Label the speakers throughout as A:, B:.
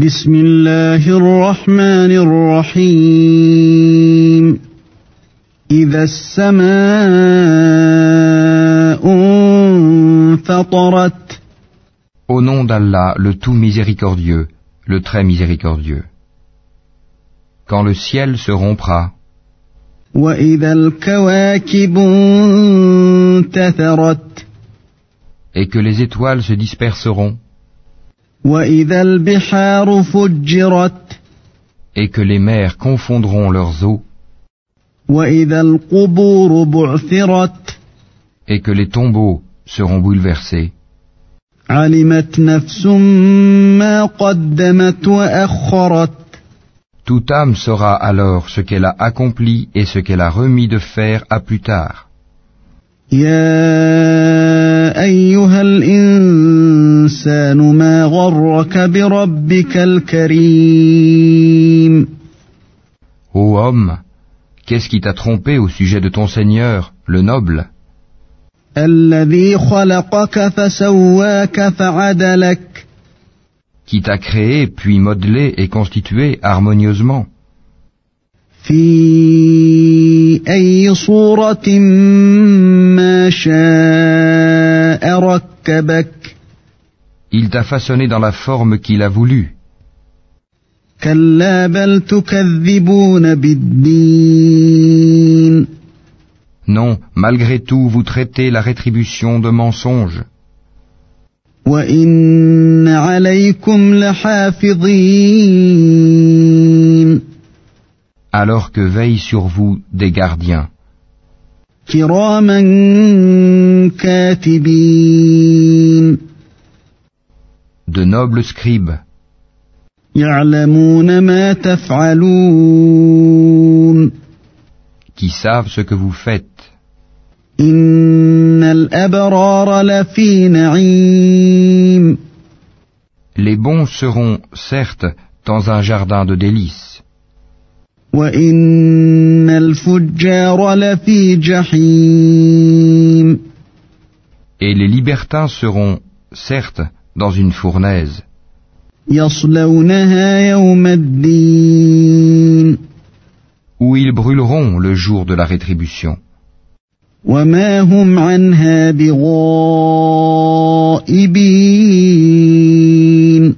A: بسم الله الرحمن الرحيم إذا السماء انفطرت
B: Au nom d'Allah, le tout miséricordieux, le très miséricordieux. Quand le ciel se rompra,
A: وإذا الكواكب انتثرت
B: et que les étoiles se disperseront,
A: وإذا البحار فجرت
B: et que les mers confondront leurs eaux,
A: وإذا القبور بعثرت
B: et que les tombeaux seront bouleversés,
A: علمت نفس ما قدمت وأخرت
B: toute âme saura alors ce qu'elle a accompli et ce qu'elle a remis de faire à plus tard.
A: يا أيها الإنسان ما غرك بربك الكريم
B: Ô homme, qu'est-ce qui t'a trompé au sujet de ton Seigneur, le noble,
A: الذي خلقك فسواك فعدلك
B: qui t'a créé puis modelé et constitué harmonieusement
A: في أي صورة ما شاء ركبك
B: Il t'a façonné dans la forme qu'il a voulu.
A: كلا بل تكذبون بالدين
B: Non, malgré tout, vous traitez la rétribution de mensonge.
A: وإن عليكم لحافظين
B: Alors que veillent sur vous des gardiens,
A: كراما كاتبين
B: de nobles scribes,
A: يعلمون ما تفعلون
B: qui savent ce que vous faites.
A: إن الأبرار لفي نعيم
B: Les bons seront, certes, dans un jardin de délices,
A: وإن الفجار لفي جحيم
B: et les libertins seront, certes, dans une fournaise,
A: يصلونها يوم الدين
B: où ils brûleront le jour de la rétribution,
A: وما هم عنها بغائبين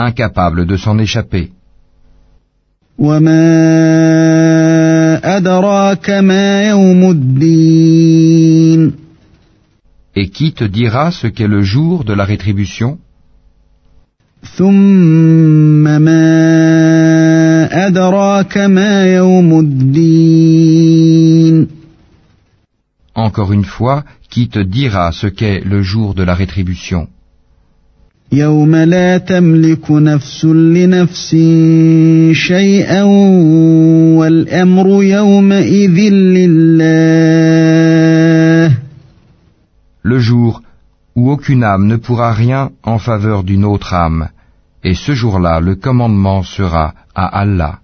B: incapables de s'en échapper.
A: وما أدراك ما يوم الدين
B: Et qui te dira ce qu'est le jour de la rétribution
A: ثم ما أدراك ما يوم الدين
B: Encore une fois, qui te dira ce qu'est le jour de la rétribution
A: يوم لا تملك نفس لنفس شيئا والأمر يومئذ لله
B: Le jour où aucune âme ne pourra rien en faveur d'une autre âme, et ce jour-là le commandement sera à Allah.